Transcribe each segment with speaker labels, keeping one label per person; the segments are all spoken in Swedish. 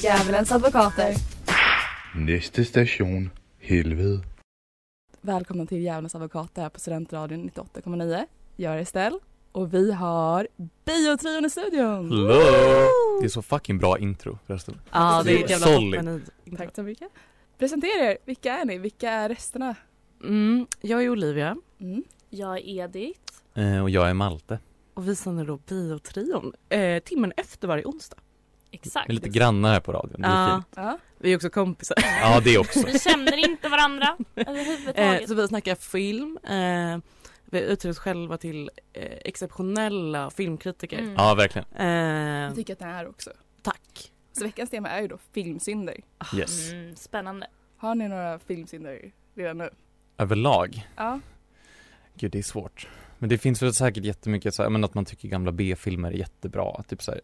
Speaker 1: Djävulens advokater.
Speaker 2: Næste station, helvede.
Speaker 3: Välkomna till Djävulens advokater här på Studentradion 98,9. Jag är Estelle och vi har biotrion i studion.
Speaker 4: Hello! Det är så fucking bra intro förresten.
Speaker 5: Ja det är ett jävla
Speaker 4: Solid.
Speaker 5: toppen i.
Speaker 3: Tack så mycket. Presentera er, vilka är ni? Vilka är resterna?
Speaker 5: Mm, jag är Olivia
Speaker 3: Mm.
Speaker 6: Jag är Edith.
Speaker 4: Eh, och jag är Malte.
Speaker 5: och vi sänder då Biotrion eh, timmen efter varje onsdag.
Speaker 6: Exakt.
Speaker 4: Vi är lite grannar här på radion, det är
Speaker 5: Ja.
Speaker 4: fint.
Speaker 3: Ja.
Speaker 5: Vi är också kompisar.
Speaker 4: Ja det också.
Speaker 6: Vi känner inte varandra
Speaker 5: Eh,
Speaker 6: överhuvudtaget.
Speaker 5: så vi snackar film, eh, vi utreder oss själva till eh, exceptionella filmkritiker.
Speaker 6: Mm.
Speaker 4: Ja verkligen.
Speaker 3: Jag
Speaker 5: Eh,
Speaker 3: tycker att det är också.
Speaker 5: tack.
Speaker 3: Så veckans tema är ju då filmsynder.
Speaker 5: Ah.
Speaker 4: Yes.
Speaker 6: Mm, spännande.
Speaker 3: Har ni några filmsynder redan nu?
Speaker 4: Överlag.
Speaker 3: Ja.
Speaker 4: Gud det är svårt. Men det finns väl säkert jättemycket så här, men att man tycker gamla B-filmer är jättebra. Typ så här.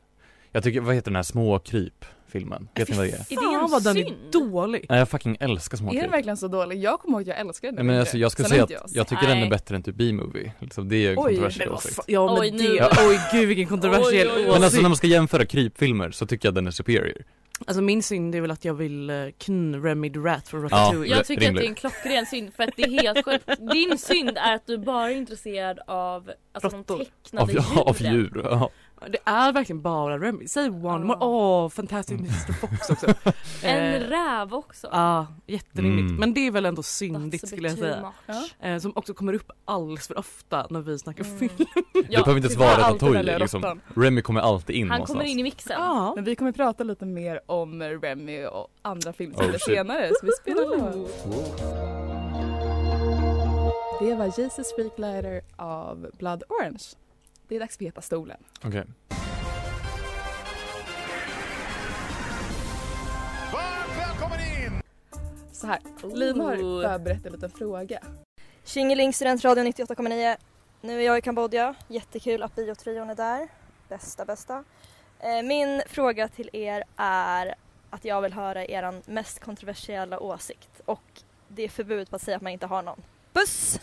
Speaker 4: Jag tycker, vad heter den här småkryp-filmen?
Speaker 5: Äh,
Speaker 4: Vet ni vad det är?
Speaker 6: Är det
Speaker 5: Fan
Speaker 6: en
Speaker 5: vad den är
Speaker 6: synd?
Speaker 5: dålig.
Speaker 4: Nej jag fucking älskar
Speaker 3: Är
Speaker 4: småkryp.
Speaker 3: den verkligen så dålig? Jag kommer ihåg att jag älskade
Speaker 4: Nej
Speaker 3: den.
Speaker 4: men
Speaker 3: mycket.
Speaker 4: alltså jag ska
Speaker 3: Sen
Speaker 4: säga
Speaker 3: har inte
Speaker 4: att
Speaker 3: jag
Speaker 4: jag tycker den
Speaker 6: Nej.
Speaker 4: är bättre än typ B-movie. Liksom, det är en
Speaker 3: Oj,
Speaker 4: kontroversiell
Speaker 5: Men vad
Speaker 4: åsikt.
Speaker 5: fan, ja men
Speaker 6: Oj, nu-
Speaker 5: det, oj gud vilken kontroversiell
Speaker 6: Oj, oj, oj.
Speaker 4: Men
Speaker 5: åsikt.
Speaker 4: alltså när man ska jämföra krypfilmer så tycker jag den är superior.
Speaker 5: Alltså min synd är väl att jag vill eh, kn Remid Rat från
Speaker 4: Ja.
Speaker 5: Ratatouille.
Speaker 6: Jag tycker att
Speaker 4: rimligt.
Speaker 6: det är en klockren synd för att det är helt sjukt. Din synd är att du bara är intresserad av alltså, de
Speaker 5: Råttor.
Speaker 6: tecknade
Speaker 4: Av, av
Speaker 6: djuren.
Speaker 4: djur. Ja.
Speaker 5: Det är verkligen bara Remy. Säg One More. Åh,
Speaker 4: Mm.
Speaker 5: Fantastic Mr Fox också.
Speaker 6: En
Speaker 5: Eh,
Speaker 6: räv också.
Speaker 5: Ja, jätterimligt.
Speaker 4: Mm.
Speaker 5: Men det är väl ändå
Speaker 6: That's a
Speaker 5: syndigt
Speaker 6: bit
Speaker 5: skulle jag
Speaker 6: too
Speaker 5: säga.
Speaker 6: much.
Speaker 3: Ja.
Speaker 5: Eh, som också kommer upp alldeles för ofta när vi snackar
Speaker 6: Mm.
Speaker 5: film.
Speaker 4: det behöver inte ens vara
Speaker 3: alltid
Speaker 4: Ratatouille
Speaker 3: väljer
Speaker 4: liksom.
Speaker 3: råttan.
Speaker 4: Remy kommer alltid in
Speaker 6: Han
Speaker 4: någonstans.
Speaker 6: kommer in i mixen.
Speaker 5: Ja.
Speaker 3: Men vi kommer prata lite mer om Remy och andra
Speaker 4: Oh,
Speaker 3: filmsynder
Speaker 4: shit. Oh,
Speaker 3: senare så vi spelar låt. Det var Jesus Freakliner av Blood Orange. Det är dags för Heta stolen.
Speaker 4: Okej.
Speaker 3: Så här, Lina har
Speaker 6: Ooh.
Speaker 3: förberett en liten fråga.
Speaker 7: Tjingeling Studentradion 98,9. Nu är jag i Kambodja. Jättekul att biotrion är där. Bästa, bästa. Eh, Min fråga till er är att jag vill höra er mest kontroversiella åsikt och det är förbud på att säga att man inte har någon. Puss!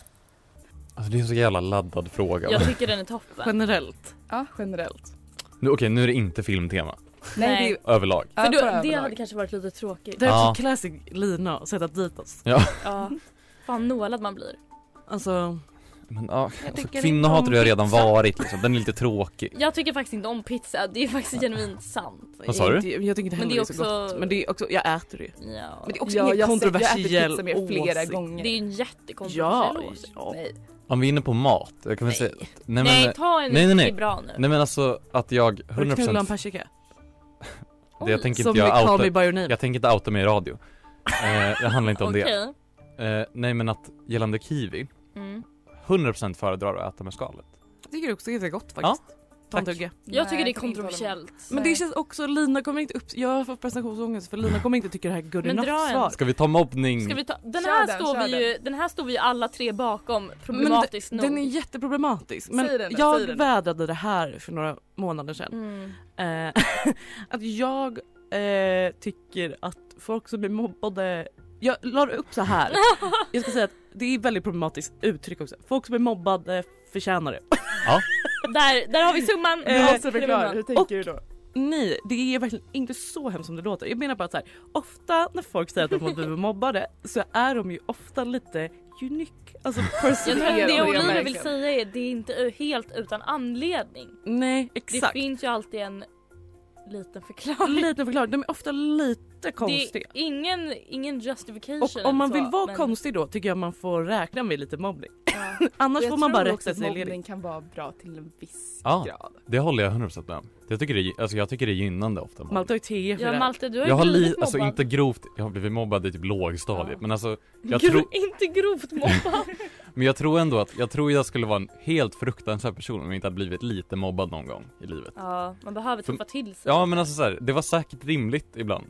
Speaker 4: Alltså det är en så jävla laddad fråga.
Speaker 6: Jag
Speaker 4: Nu-
Speaker 6: tycker den är toppen.
Speaker 5: Generellt.
Speaker 3: Ja, generellt.
Speaker 4: Okej, nu är det inte filmtema.
Speaker 3: Nej,
Speaker 6: Nej.
Speaker 3: det är
Speaker 4: Överlag.
Speaker 3: ja,
Speaker 6: För
Speaker 3: bara
Speaker 6: då, det
Speaker 3: överlag.
Speaker 6: hade kanske varit lite tråkigt.
Speaker 5: Det är
Speaker 4: Ja.
Speaker 5: också classic Lina att sätta dit oss.
Speaker 6: Ja. Fan nålad man blir.
Speaker 5: Alltså,
Speaker 4: Men ja, alltså,
Speaker 6: tycker
Speaker 4: kvinnohat har
Speaker 6: inte om
Speaker 4: jag redan
Speaker 6: pizza.
Speaker 4: varit liksom. Den är lite tråkig.
Speaker 6: Jag tycker faktiskt inte om pizza, det är faktiskt genuint sant.
Speaker 4: Vad sa du?
Speaker 5: Jag, jag tycker inte
Speaker 6: Men
Speaker 5: heller
Speaker 6: det
Speaker 5: det
Speaker 6: är
Speaker 5: är så
Speaker 6: också-
Speaker 5: gott. Men det är också, jag äter det.
Speaker 6: Ja.
Speaker 5: Men det är också
Speaker 3: Ja, jag ser-
Speaker 5: ingen
Speaker 3: jag äter
Speaker 5: kontroversiell
Speaker 3: pizza med flera
Speaker 5: åsikt.
Speaker 3: gånger.
Speaker 6: Det är ju en
Speaker 5: Ja,
Speaker 6: jättekontroversiell åsikt.
Speaker 5: ja.
Speaker 3: Nej.
Speaker 4: Om vi är inne på mat, jag kan väl
Speaker 6: Nej.
Speaker 4: säga... Nej men,
Speaker 6: Nej,
Speaker 4: nej,
Speaker 6: ta en
Speaker 4: nej, nej, nej.
Speaker 6: Det är bra nu.
Speaker 4: nej men alltså att jag
Speaker 5: Har du knullat en
Speaker 4: 100%
Speaker 5: persika?
Speaker 4: det, jag tänker
Speaker 5: Som
Speaker 4: inte
Speaker 5: i
Speaker 4: jag
Speaker 5: Call Me
Speaker 4: outa,
Speaker 5: By Your Name.
Speaker 4: jag tänker inte outa mig i radio. Eh, det handlar inte om
Speaker 6: Okej.
Speaker 4: det. Eh, nej men att gällande kiwi,
Speaker 6: Mm.
Speaker 4: 100% föredrar att äta med skalet.
Speaker 5: Jag tycker också det är gott
Speaker 4: Ja,
Speaker 5: faktiskt. Ta en
Speaker 4: tack.
Speaker 5: tugga.
Speaker 6: Jag tycker det är
Speaker 3: Nej, jag kan inte hålla
Speaker 6: kontroversiellt.
Speaker 5: Men det
Speaker 3: Nej.
Speaker 5: känns också, Lina kommer inte upp, jag har fått prestationsångest för
Speaker 4: Mm.
Speaker 5: Lina kommer inte tycka det här är good
Speaker 6: Men dra
Speaker 5: enough
Speaker 6: en.
Speaker 5: svar.
Speaker 4: Ska vi ta mobbning?
Speaker 6: Ska vi ta, den,
Speaker 3: Kör
Speaker 6: här
Speaker 3: den,
Speaker 6: står
Speaker 3: kör
Speaker 6: vi ju, den här står vi ju alla tre bakom, problematiskt
Speaker 5: men
Speaker 6: nog.
Speaker 5: d- Den är jätteproblematisk. Men
Speaker 3: Säg den då,
Speaker 5: jag
Speaker 3: säg den då.
Speaker 5: vädrade det här för några månader sedan.
Speaker 6: Mm.
Speaker 5: Eh, att jag eh, tycker att folk som är mobbade jag la upp så här. Jag ska säga att det är ett väldigt problematiskt uttryck också. Folk som är mobbade förtjänar det.
Speaker 6: Där, där har vi summan.
Speaker 5: Eh,
Speaker 6: Ja,
Speaker 3: måste förklara, hur
Speaker 6: summan.
Speaker 3: tänker
Speaker 5: Och-
Speaker 3: du då?
Speaker 5: Nej, det är verkligen inte så hemskt som det låter. Jag menar bara att så här, ofta när folk säger att de har blivit mobbade så är de ju ofta lite unique. Alltså
Speaker 6: Jag
Speaker 5: person-
Speaker 6: tror att
Speaker 3: Det
Speaker 6: det
Speaker 3: är
Speaker 6: Oliver vill
Speaker 3: verkligen.
Speaker 6: säga är det är inte ö- helt utan anledning.
Speaker 5: Nej,
Speaker 6: Det
Speaker 5: exakt.
Speaker 6: finns ju alltid en liten förklaring.
Speaker 5: Lite förklaring. De är ofta lite
Speaker 6: Det är
Speaker 5: konstiga.
Speaker 6: ingen, ingen justification.
Speaker 5: Och om man
Speaker 6: eller
Speaker 5: vill
Speaker 6: så,
Speaker 5: vara
Speaker 6: men-
Speaker 5: konstig då tycker jag man får räkna med lite mobbning.
Speaker 6: Ja.
Speaker 5: Annars
Speaker 3: Jag
Speaker 5: får man
Speaker 3: tror
Speaker 5: bara
Speaker 3: också
Speaker 5: rätta
Speaker 3: att
Speaker 5: sig ledigt.
Speaker 3: mobbning kan vara bra till en viss
Speaker 4: Ja.
Speaker 3: grad.
Speaker 4: Det håller jag 100% med om. Jag tycker det, alltså jag tycker det är gynnande ofta.
Speaker 5: Man tar ju te för
Speaker 6: Ja,
Speaker 5: det.
Speaker 6: Malte du har
Speaker 4: jag har
Speaker 6: ju
Speaker 4: li,
Speaker 6: blivit
Speaker 4: alltså
Speaker 6: mobbad.
Speaker 4: inte grovt, jag har blivit mobbad i typ lågstadiet
Speaker 6: Ja.
Speaker 4: men alltså jag
Speaker 6: Gro-
Speaker 4: tror,
Speaker 6: Inte grovt mobbad.
Speaker 4: Men jag tror ändå att, jag tror jag skulle vara en helt fruktansvärd person om jag inte hade blivit lite mobbad någon gång i livet.
Speaker 6: Ja, man behöver
Speaker 4: För-
Speaker 6: tuffa till sig.
Speaker 4: Ja men alltså såhär, det var säkert rimligt ibland.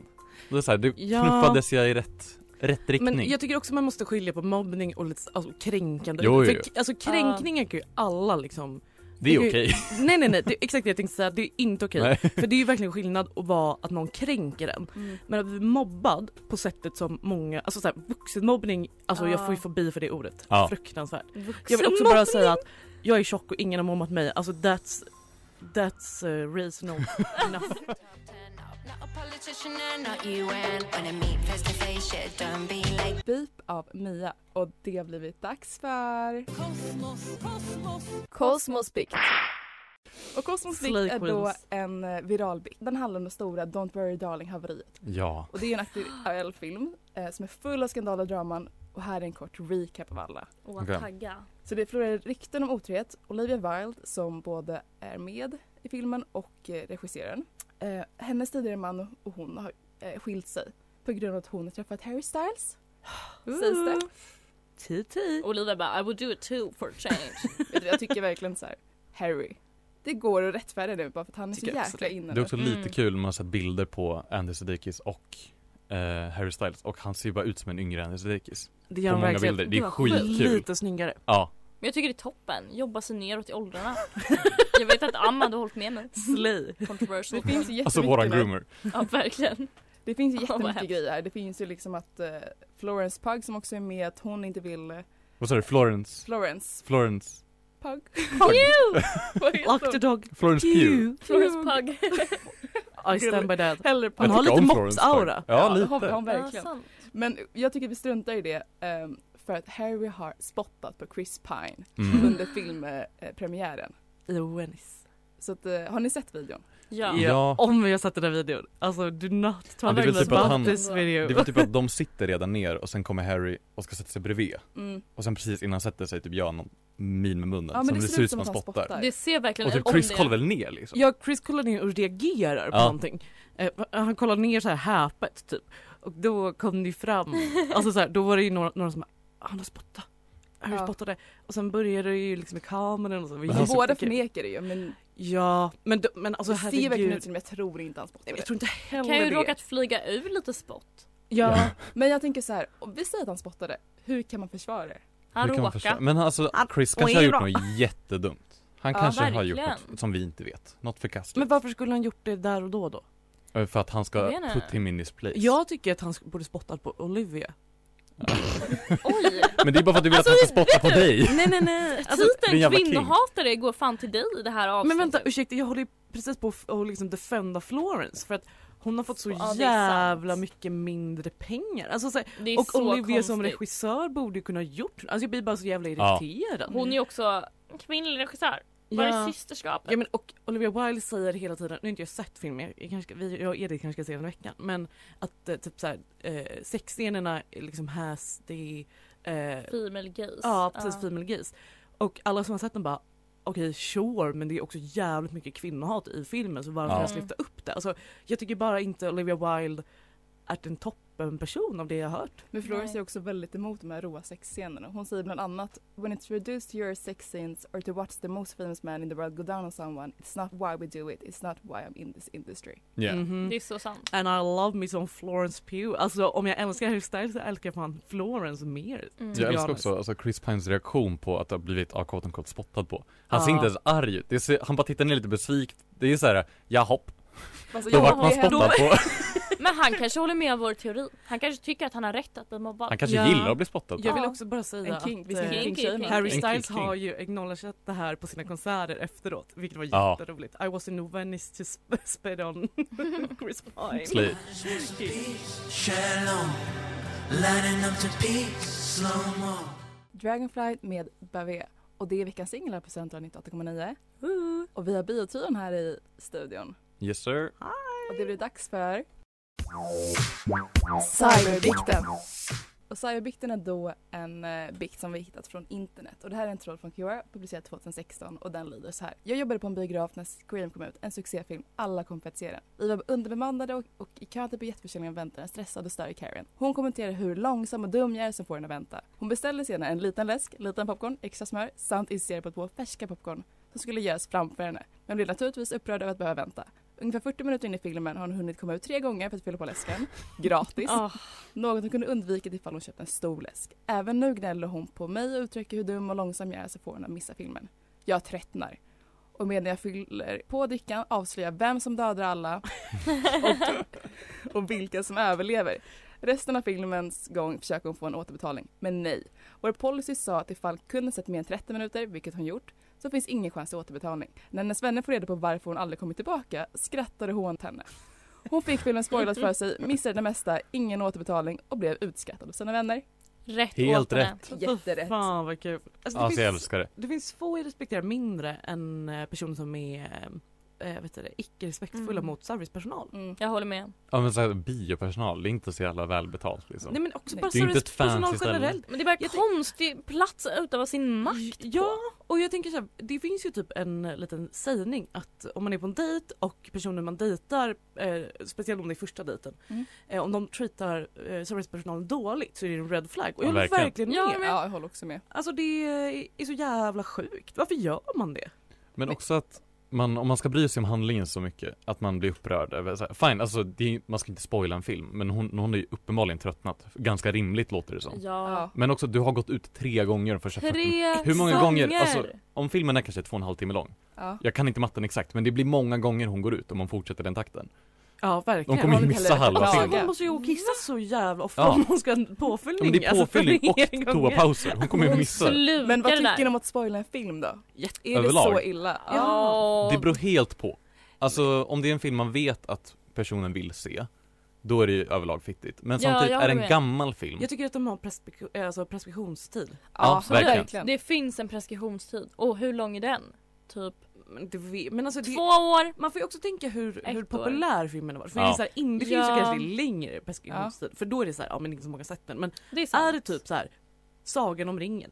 Speaker 4: Det, är så här, det
Speaker 5: Ja.
Speaker 4: knuffades jag i rätt, rätt riktning.
Speaker 5: Men jag tycker också man måste skilja på mobbning och lite alltså, kränkande.
Speaker 4: Jo, jo,
Speaker 5: För,
Speaker 4: jo.
Speaker 5: k- alltså kränkningar kan ju alla liksom.
Speaker 4: det är
Speaker 5: tycker-
Speaker 4: okej.
Speaker 5: Nej nej nej, det, är exakt det jag tänkte säga. Det är inte okej.
Speaker 4: Nej.
Speaker 5: För det är ju verkligen skillnad att vara att någon kränker en.
Speaker 6: Mm.
Speaker 5: Men att bli mobbad på sättet som många, alltså såhär vuxenmobbning, alltså jag
Speaker 6: Ja.
Speaker 5: får ju fobi för det ordet.
Speaker 4: Ja.
Speaker 5: Fruktansvärt.
Speaker 6: Vuxen
Speaker 5: Jag vill också bara
Speaker 6: mobbning.
Speaker 5: säga att jag är tjock och ingen har mobbat mig. Alltså that's, that's uh, reason enough.
Speaker 3: Beep av Mia och det har blivit dags för Kosmosbikt. Och Kosmosbikt
Speaker 5: Slay
Speaker 3: är då
Speaker 5: Queens.
Speaker 3: en eh, viral bikt. Den handlar om det stora Don't Worry Darling haveriet.
Speaker 4: Ja.
Speaker 3: Och det är ju en aktuell film eh, som är full av skandaler och draman och här är en kort recap av alla.
Speaker 6: Och att
Speaker 4: Okej.
Speaker 6: tagga.
Speaker 3: Så det florerar rykten om otrohet. Olivia Wilde som både är med i filmen och eh, regisserar den. Eh, hennes tidigare man och hon har eh, skilt sig på grund av att hon har träffat Harry Styles. Sägs det.
Speaker 5: TT.
Speaker 6: Olivia bara I would do it too for a change.
Speaker 3: Vet du, jag tycker verkligen så här, Harry. Det går att rättfärdiga det bara för att han är så
Speaker 5: Tycker jag också
Speaker 3: jäkla
Speaker 5: det.
Speaker 3: inne
Speaker 4: Det är
Speaker 3: nu.
Speaker 4: också
Speaker 6: Mm.
Speaker 4: lite kul, man har sett bilder på Andy Sedekis och eh, Harry Styles och han ser ju bara ut som en yngre Andy Sedekis.
Speaker 5: Det gör
Speaker 4: På
Speaker 5: de
Speaker 4: många
Speaker 5: verkligen.
Speaker 4: bilder. Det är
Speaker 5: var
Speaker 4: skitkul.
Speaker 5: Lite snyggare.
Speaker 4: Ja.
Speaker 6: Men jag tycker det är toppen, jobba sig neråt i åldrarna. jag vet att Amma hade hållit med mig.
Speaker 5: Slay.
Speaker 6: Controversial.
Speaker 3: Det finns ju
Speaker 4: Alltså våran
Speaker 3: jättemycket-
Speaker 4: groomer.
Speaker 6: Ja verkligen.
Speaker 3: Det finns ju
Speaker 6: Åh, vad
Speaker 3: jättemycket
Speaker 6: hemskt.
Speaker 3: grejer här. Det finns ju liksom att eh, Florence Pug som också är med, att hon inte vill... eh,
Speaker 4: Vad sa du? Florence?
Speaker 3: Florence
Speaker 4: Florence?
Speaker 3: Pug?
Speaker 6: Pew!
Speaker 3: Vad heter
Speaker 5: Lock the
Speaker 3: hon?
Speaker 5: dog.
Speaker 4: Florence Pugh?
Speaker 6: Florence Pug.
Speaker 5: I stand by that.
Speaker 3: Hellre
Speaker 4: Jag
Speaker 5: Hon har
Speaker 4: tycker
Speaker 5: lite
Speaker 4: om Florence Pugh.
Speaker 5: mops-aura.
Speaker 4: Ja,
Speaker 3: det har
Speaker 4: lite.
Speaker 3: hon
Speaker 6: Ja,
Speaker 3: verkligen.
Speaker 6: sant.
Speaker 3: Men jag tycker vi struntar i det ehm, för att Harry har spottat på Chris Pine
Speaker 4: Mm.
Speaker 3: under filmpremiären.
Speaker 5: I Venice.
Speaker 3: Så att, eh, har ni sett videon?
Speaker 6: Ja.
Speaker 4: Ja.
Speaker 5: Om vi har sett den här videon. Alltså do not
Speaker 4: Ja,
Speaker 5: talk
Speaker 4: det är väl
Speaker 5: about
Speaker 4: typ att han-
Speaker 5: this video.
Speaker 4: Det var typ att de sitter redan ner och sen kommer Harry och ska sätta sig bredvid
Speaker 3: Mm.
Speaker 4: och sen precis innan han sätter sig typ gör han någon min med munnen
Speaker 3: Ja, men
Speaker 4: som
Speaker 3: det
Speaker 4: det,
Speaker 3: ser
Speaker 4: ser ut som att han spottar.
Speaker 3: spottar.
Speaker 6: Det ser verkligen
Speaker 4: Och typ
Speaker 6: ut
Speaker 4: Chris
Speaker 6: det.
Speaker 4: kollar väl ner liksom?
Speaker 5: Ja, Chris kollar ner och reagerar på
Speaker 4: Ja.
Speaker 5: någonting. Eh, han kollar ner så här häpet typ. Och då kom det ju fram, alltså så här, då var det ju några, några som bara, han har spottat. Harry
Speaker 3: Ja.
Speaker 5: spottade. Och sen började det ju liksom i kameran och så.
Speaker 4: Men alltså-
Speaker 3: Men
Speaker 4: han-
Speaker 3: båda förnekar det ju men
Speaker 5: Ja, men, då- men alltså
Speaker 3: det ser verkligen ut
Speaker 5: herregud.
Speaker 3: som jag tror inte han spottar
Speaker 5: Nej, men
Speaker 3: det.
Speaker 5: Jag tror inte heller
Speaker 6: Kan ju
Speaker 5: det.
Speaker 6: råkat flyga ur lite spott.
Speaker 3: Ja, men jag tänker så här, om vi säger att han spottade, hur kan man försvara det?
Speaker 6: Han
Speaker 4: Hur kan man
Speaker 6: råkar.
Speaker 4: förstå? Men alltså
Speaker 5: Han-
Speaker 4: Chris
Speaker 5: och
Speaker 4: kanske har
Speaker 5: är
Speaker 4: gjort
Speaker 5: bra.
Speaker 4: något jättedumt. Han
Speaker 6: Ja,
Speaker 4: kanske har gjort
Speaker 6: verkligen.
Speaker 4: något som vi inte vet. Något förkastligt.
Speaker 5: Men varför skulle han gjort det där och då då?
Speaker 4: Eh, För att han
Speaker 6: Jag
Speaker 4: ska
Speaker 6: vet inte.
Speaker 4: put him in his place.
Speaker 5: Jag tycker att han sk- borde spottat på Olivia.
Speaker 6: Oj!
Speaker 4: Men det är bara för att du vill att han ska spotta på dig.
Speaker 5: Nej nej nej!
Speaker 6: Alltså,
Speaker 4: din
Speaker 6: Titeln
Speaker 4: jävla
Speaker 6: kvinnohatare går fan till dig i det här avsnittet.
Speaker 5: men vänta ursäkta jag håller ju precis på att och liksom defenda Florence för att hon har fått så
Speaker 6: Ja, det är
Speaker 5: jävla
Speaker 6: sant.
Speaker 5: mycket mindre pengar. Alltså, så, här,
Speaker 6: Det är
Speaker 5: och
Speaker 6: så
Speaker 5: Olivia som
Speaker 6: konstigt.
Speaker 5: regissör borde ju kunna ha gjort Alltså jag blir bara så jävla
Speaker 4: Ja.
Speaker 5: irriterad.
Speaker 6: Hon är ju också en kvinnlig regissör. Var är
Speaker 5: Mm. Ja.
Speaker 6: systerskapet?
Speaker 5: Ja men och Olivia Wilde säger hela tiden, nu har inte jag sett filmen, jag, kanske, ska- vi, jag och Edith kanske ska se den i veckan, men att eh, typ såhär eh, sexscenerna är liksom häs, det är eh,
Speaker 6: Female gaze.
Speaker 5: Ja precis, female gaze. Och alla som har sett den bara okej sure men det är också jävligt mycket kvinnohat i filmen så varför
Speaker 4: Ja.
Speaker 5: ens lyfta upp det? Alltså, jag tycker bara inte Olivia Wilde är en toppen person av det jag har hört.
Speaker 3: Men Florence
Speaker 6: Nej.
Speaker 3: är också väldigt emot de här råa sexscenerna. Hon säger bland annat When it's reduced to your sex scenes or to watch the most famous man in the world go down on someone It's not why we do it, it's not why I'm in this industry.
Speaker 4: Yeah.
Speaker 5: Mhm.
Speaker 6: Det är så sant.
Speaker 5: And I love me some Florence Pugh. Alltså om jag älskar Harry Styles så älskar jag fan Florence mer.
Speaker 6: Mm.
Speaker 5: be
Speaker 4: Jag älskar
Speaker 5: honest.
Speaker 4: också alltså, Chris Pines reaktion på att ha blivit ja, quote unquote, spottad på. Han ser
Speaker 5: Ja.
Speaker 4: inte ens arg ut. Det ser, han bara tittar ner lite besvikt. Det är så här, ja hopp,
Speaker 3: Alltså,
Speaker 4: då
Speaker 3: jag-
Speaker 4: vart man
Speaker 3: det händer-
Speaker 4: spottad på.
Speaker 6: Men han kanske håller med vår teori. Han kanske tycker att han har rätt att bli mobbad.
Speaker 4: Han kanske
Speaker 5: Ja.
Speaker 4: gillar att bli spottad på.
Speaker 5: Jag vill
Speaker 6: Ja.
Speaker 5: också bara säga
Speaker 3: En kink,
Speaker 5: att
Speaker 3: vi ser en
Speaker 5: eh,
Speaker 6: kink,
Speaker 3: kinktjej
Speaker 6: kink.
Speaker 3: här.
Speaker 4: En
Speaker 5: Harry Styles
Speaker 4: kink, kink.
Speaker 5: har ju acknowledgat det här på sina konserter efteråt vilket var
Speaker 4: Ja.
Speaker 5: jätteroligt. I was in Venice to sp- spit on Chris Pine.
Speaker 4: Slay.
Speaker 3: Dragonfly med Bavé och det är veckans singel här på Central 98,9 och vi har biotrion här i studion
Speaker 4: Yes sir.
Speaker 3: och det blir dags för Cyberbikten! Och Sayo-bikten är då en eh, bikt som vi hittat från internet. Och det här är en tråd från QR, publicerad 2016 och den lyder så här. Jag jobbade på en biograf när Scream kom ut, en succéfilm. Alla kom för att se den. Vi var underbemannade och, och i kön till biljettförsäljningen väntade en stressad och störig Karen. Hon kommenterar hur långsam och dum jag är som får henne att vänta. Hon beställde sedan en liten läsk, liten popcorn, extra smör samt insisterade på två färska popcorn som skulle göras framför henne. Men blev naturligtvis upprörd över att behöva vänta. Ungefär 40 minuter in i filmen har hon hunnit komma ut tre gånger för att fylla på läsken. Gratis.
Speaker 5: Ah.
Speaker 3: Något hon kunde undvika ifall hon köpt en stor läsk. Även nu gnäller hon på mig och uttrycker hur dum och långsam jag är så får hon att missa filmen. Jag tröttnar. Och medan jag fyller på drickan avslöjar vem som dödar alla och, och vilka som överlever. Resten av filmens gång försöker hon få en återbetalning, men nej. Vår policy sa att ifall kunden sett mer än 30 minuter, vilket hon gjort, så finns ingen chans till återbetalning. När hennes vänner får reda på varför hon aldrig kommit tillbaka skrattade hon åt henne. Hon fick filmen spoilad för sig, missade det mesta, ingen återbetalning och blev utskrattad av sina vänner.
Speaker 6: Rätt
Speaker 4: Helt
Speaker 6: åt henne.
Speaker 4: rätt.
Speaker 3: Jätterätt.
Speaker 5: Fan vad kul. Alltså, det,
Speaker 4: Alltså jag
Speaker 5: finns,
Speaker 4: älskar det.
Speaker 5: det finns få jag respekterar mindre än eh, personer som är eh, vet du, det, icke respektfulla
Speaker 3: Mm.
Speaker 5: mot servicepersonal.
Speaker 3: Mm.
Speaker 6: Jag håller med.
Speaker 4: Ja men såhär biopersonal, det är inte så jävla välbetalt liksom.
Speaker 5: Nej men också
Speaker 3: Nej.
Speaker 5: bara
Speaker 4: Det är ju inte ett
Speaker 5: servicepersonal
Speaker 4: fancy ställe.
Speaker 5: generellt.
Speaker 6: Men det är bara en
Speaker 5: Jag tänk-
Speaker 6: konstig plats att utöva sin makt
Speaker 5: Ja,
Speaker 6: på.
Speaker 5: och jag tänker så här, det finns ju typ en eh, liten sägning att om man är på en dejt och personen man dejtar, eh, speciellt om det är första dejten,
Speaker 3: Mm.
Speaker 5: eh, om de treatar eh, servicepersonalen dåligt så är det en red flag. Och
Speaker 4: Ja,
Speaker 5: jag håller
Speaker 4: verkligen.
Speaker 5: verkligen
Speaker 6: Ja,
Speaker 5: med.
Speaker 3: Ja, jag håller också med.
Speaker 5: Alltså det är- är så jävla sjukt. Varför gör man det?
Speaker 4: Men också att man, om man ska bry sig om handlingen så mycket, att man blir upprörd över så här, fine, alltså det är, man ska inte spoila en film, men hon, hon är ju uppenbarligen tröttnat. Ganska rimligt låter det som.
Speaker 6: Ja.
Speaker 4: Men också, du har gått ut tre gånger för att köpa film.
Speaker 6: Tre
Speaker 4: Hur många
Speaker 6: sånger.
Speaker 4: gånger? Alltså, om filmen är kanske två och en halv timme lång,
Speaker 3: Ja.
Speaker 4: jag kan inte matten exakt, men det blir många gånger hon går ut om hon fortsätter den takten.
Speaker 5: Ja verkligen.
Speaker 4: De kommer ju
Speaker 3: har
Speaker 4: missa
Speaker 3: heller-
Speaker 4: halva
Speaker 3: Ja.
Speaker 4: filmen.
Speaker 5: Man måste ju gå och kissa så jävla ofta
Speaker 4: Ja.
Speaker 5: om man ska ha en
Speaker 4: Ja,
Speaker 5: påfyllning.
Speaker 4: men det är
Speaker 5: alltså,
Speaker 4: påfyllning
Speaker 5: flera
Speaker 4: och
Speaker 5: gånger.
Speaker 4: toapauser, hon kommer ju
Speaker 6: Hon
Speaker 4: missa det.
Speaker 6: slukar
Speaker 3: Men vad
Speaker 6: det
Speaker 3: tycker
Speaker 6: där.
Speaker 3: ni om att spoila en film då?
Speaker 5: Jätte-
Speaker 3: Är
Speaker 4: Överlag.
Speaker 3: det så illa?
Speaker 6: Ja.
Speaker 4: Det beror helt på. Alltså om det är en film man vet att personen vill se, då är det ju överlag fittigt. Men
Speaker 6: Ja,
Speaker 4: samtidigt
Speaker 6: jag
Speaker 4: är det
Speaker 6: håller
Speaker 4: en
Speaker 6: med.
Speaker 4: gammal film.
Speaker 5: Jag tycker att de har preskription, alltså preskriptionstid.
Speaker 4: Ja,
Speaker 6: Absolut.
Speaker 4: verkligen.
Speaker 6: Det finns en preskriptionstid. Och hur lång är den? Typ
Speaker 5: Men, det, vi- men alltså det,
Speaker 6: två år?
Speaker 5: man får ju också tänka hur,
Speaker 6: Ett
Speaker 5: hur
Speaker 6: år.
Speaker 5: populär filmen har varit. För
Speaker 4: Ja.
Speaker 5: det är så här, indiefilm så
Speaker 6: Ja.
Speaker 5: kanske det är längre preskriptionstid. För då är det så här, ja men inte så många har sett den. Men
Speaker 6: Det är,
Speaker 5: är
Speaker 6: sant.
Speaker 5: det typ så här, Sagan om ringen?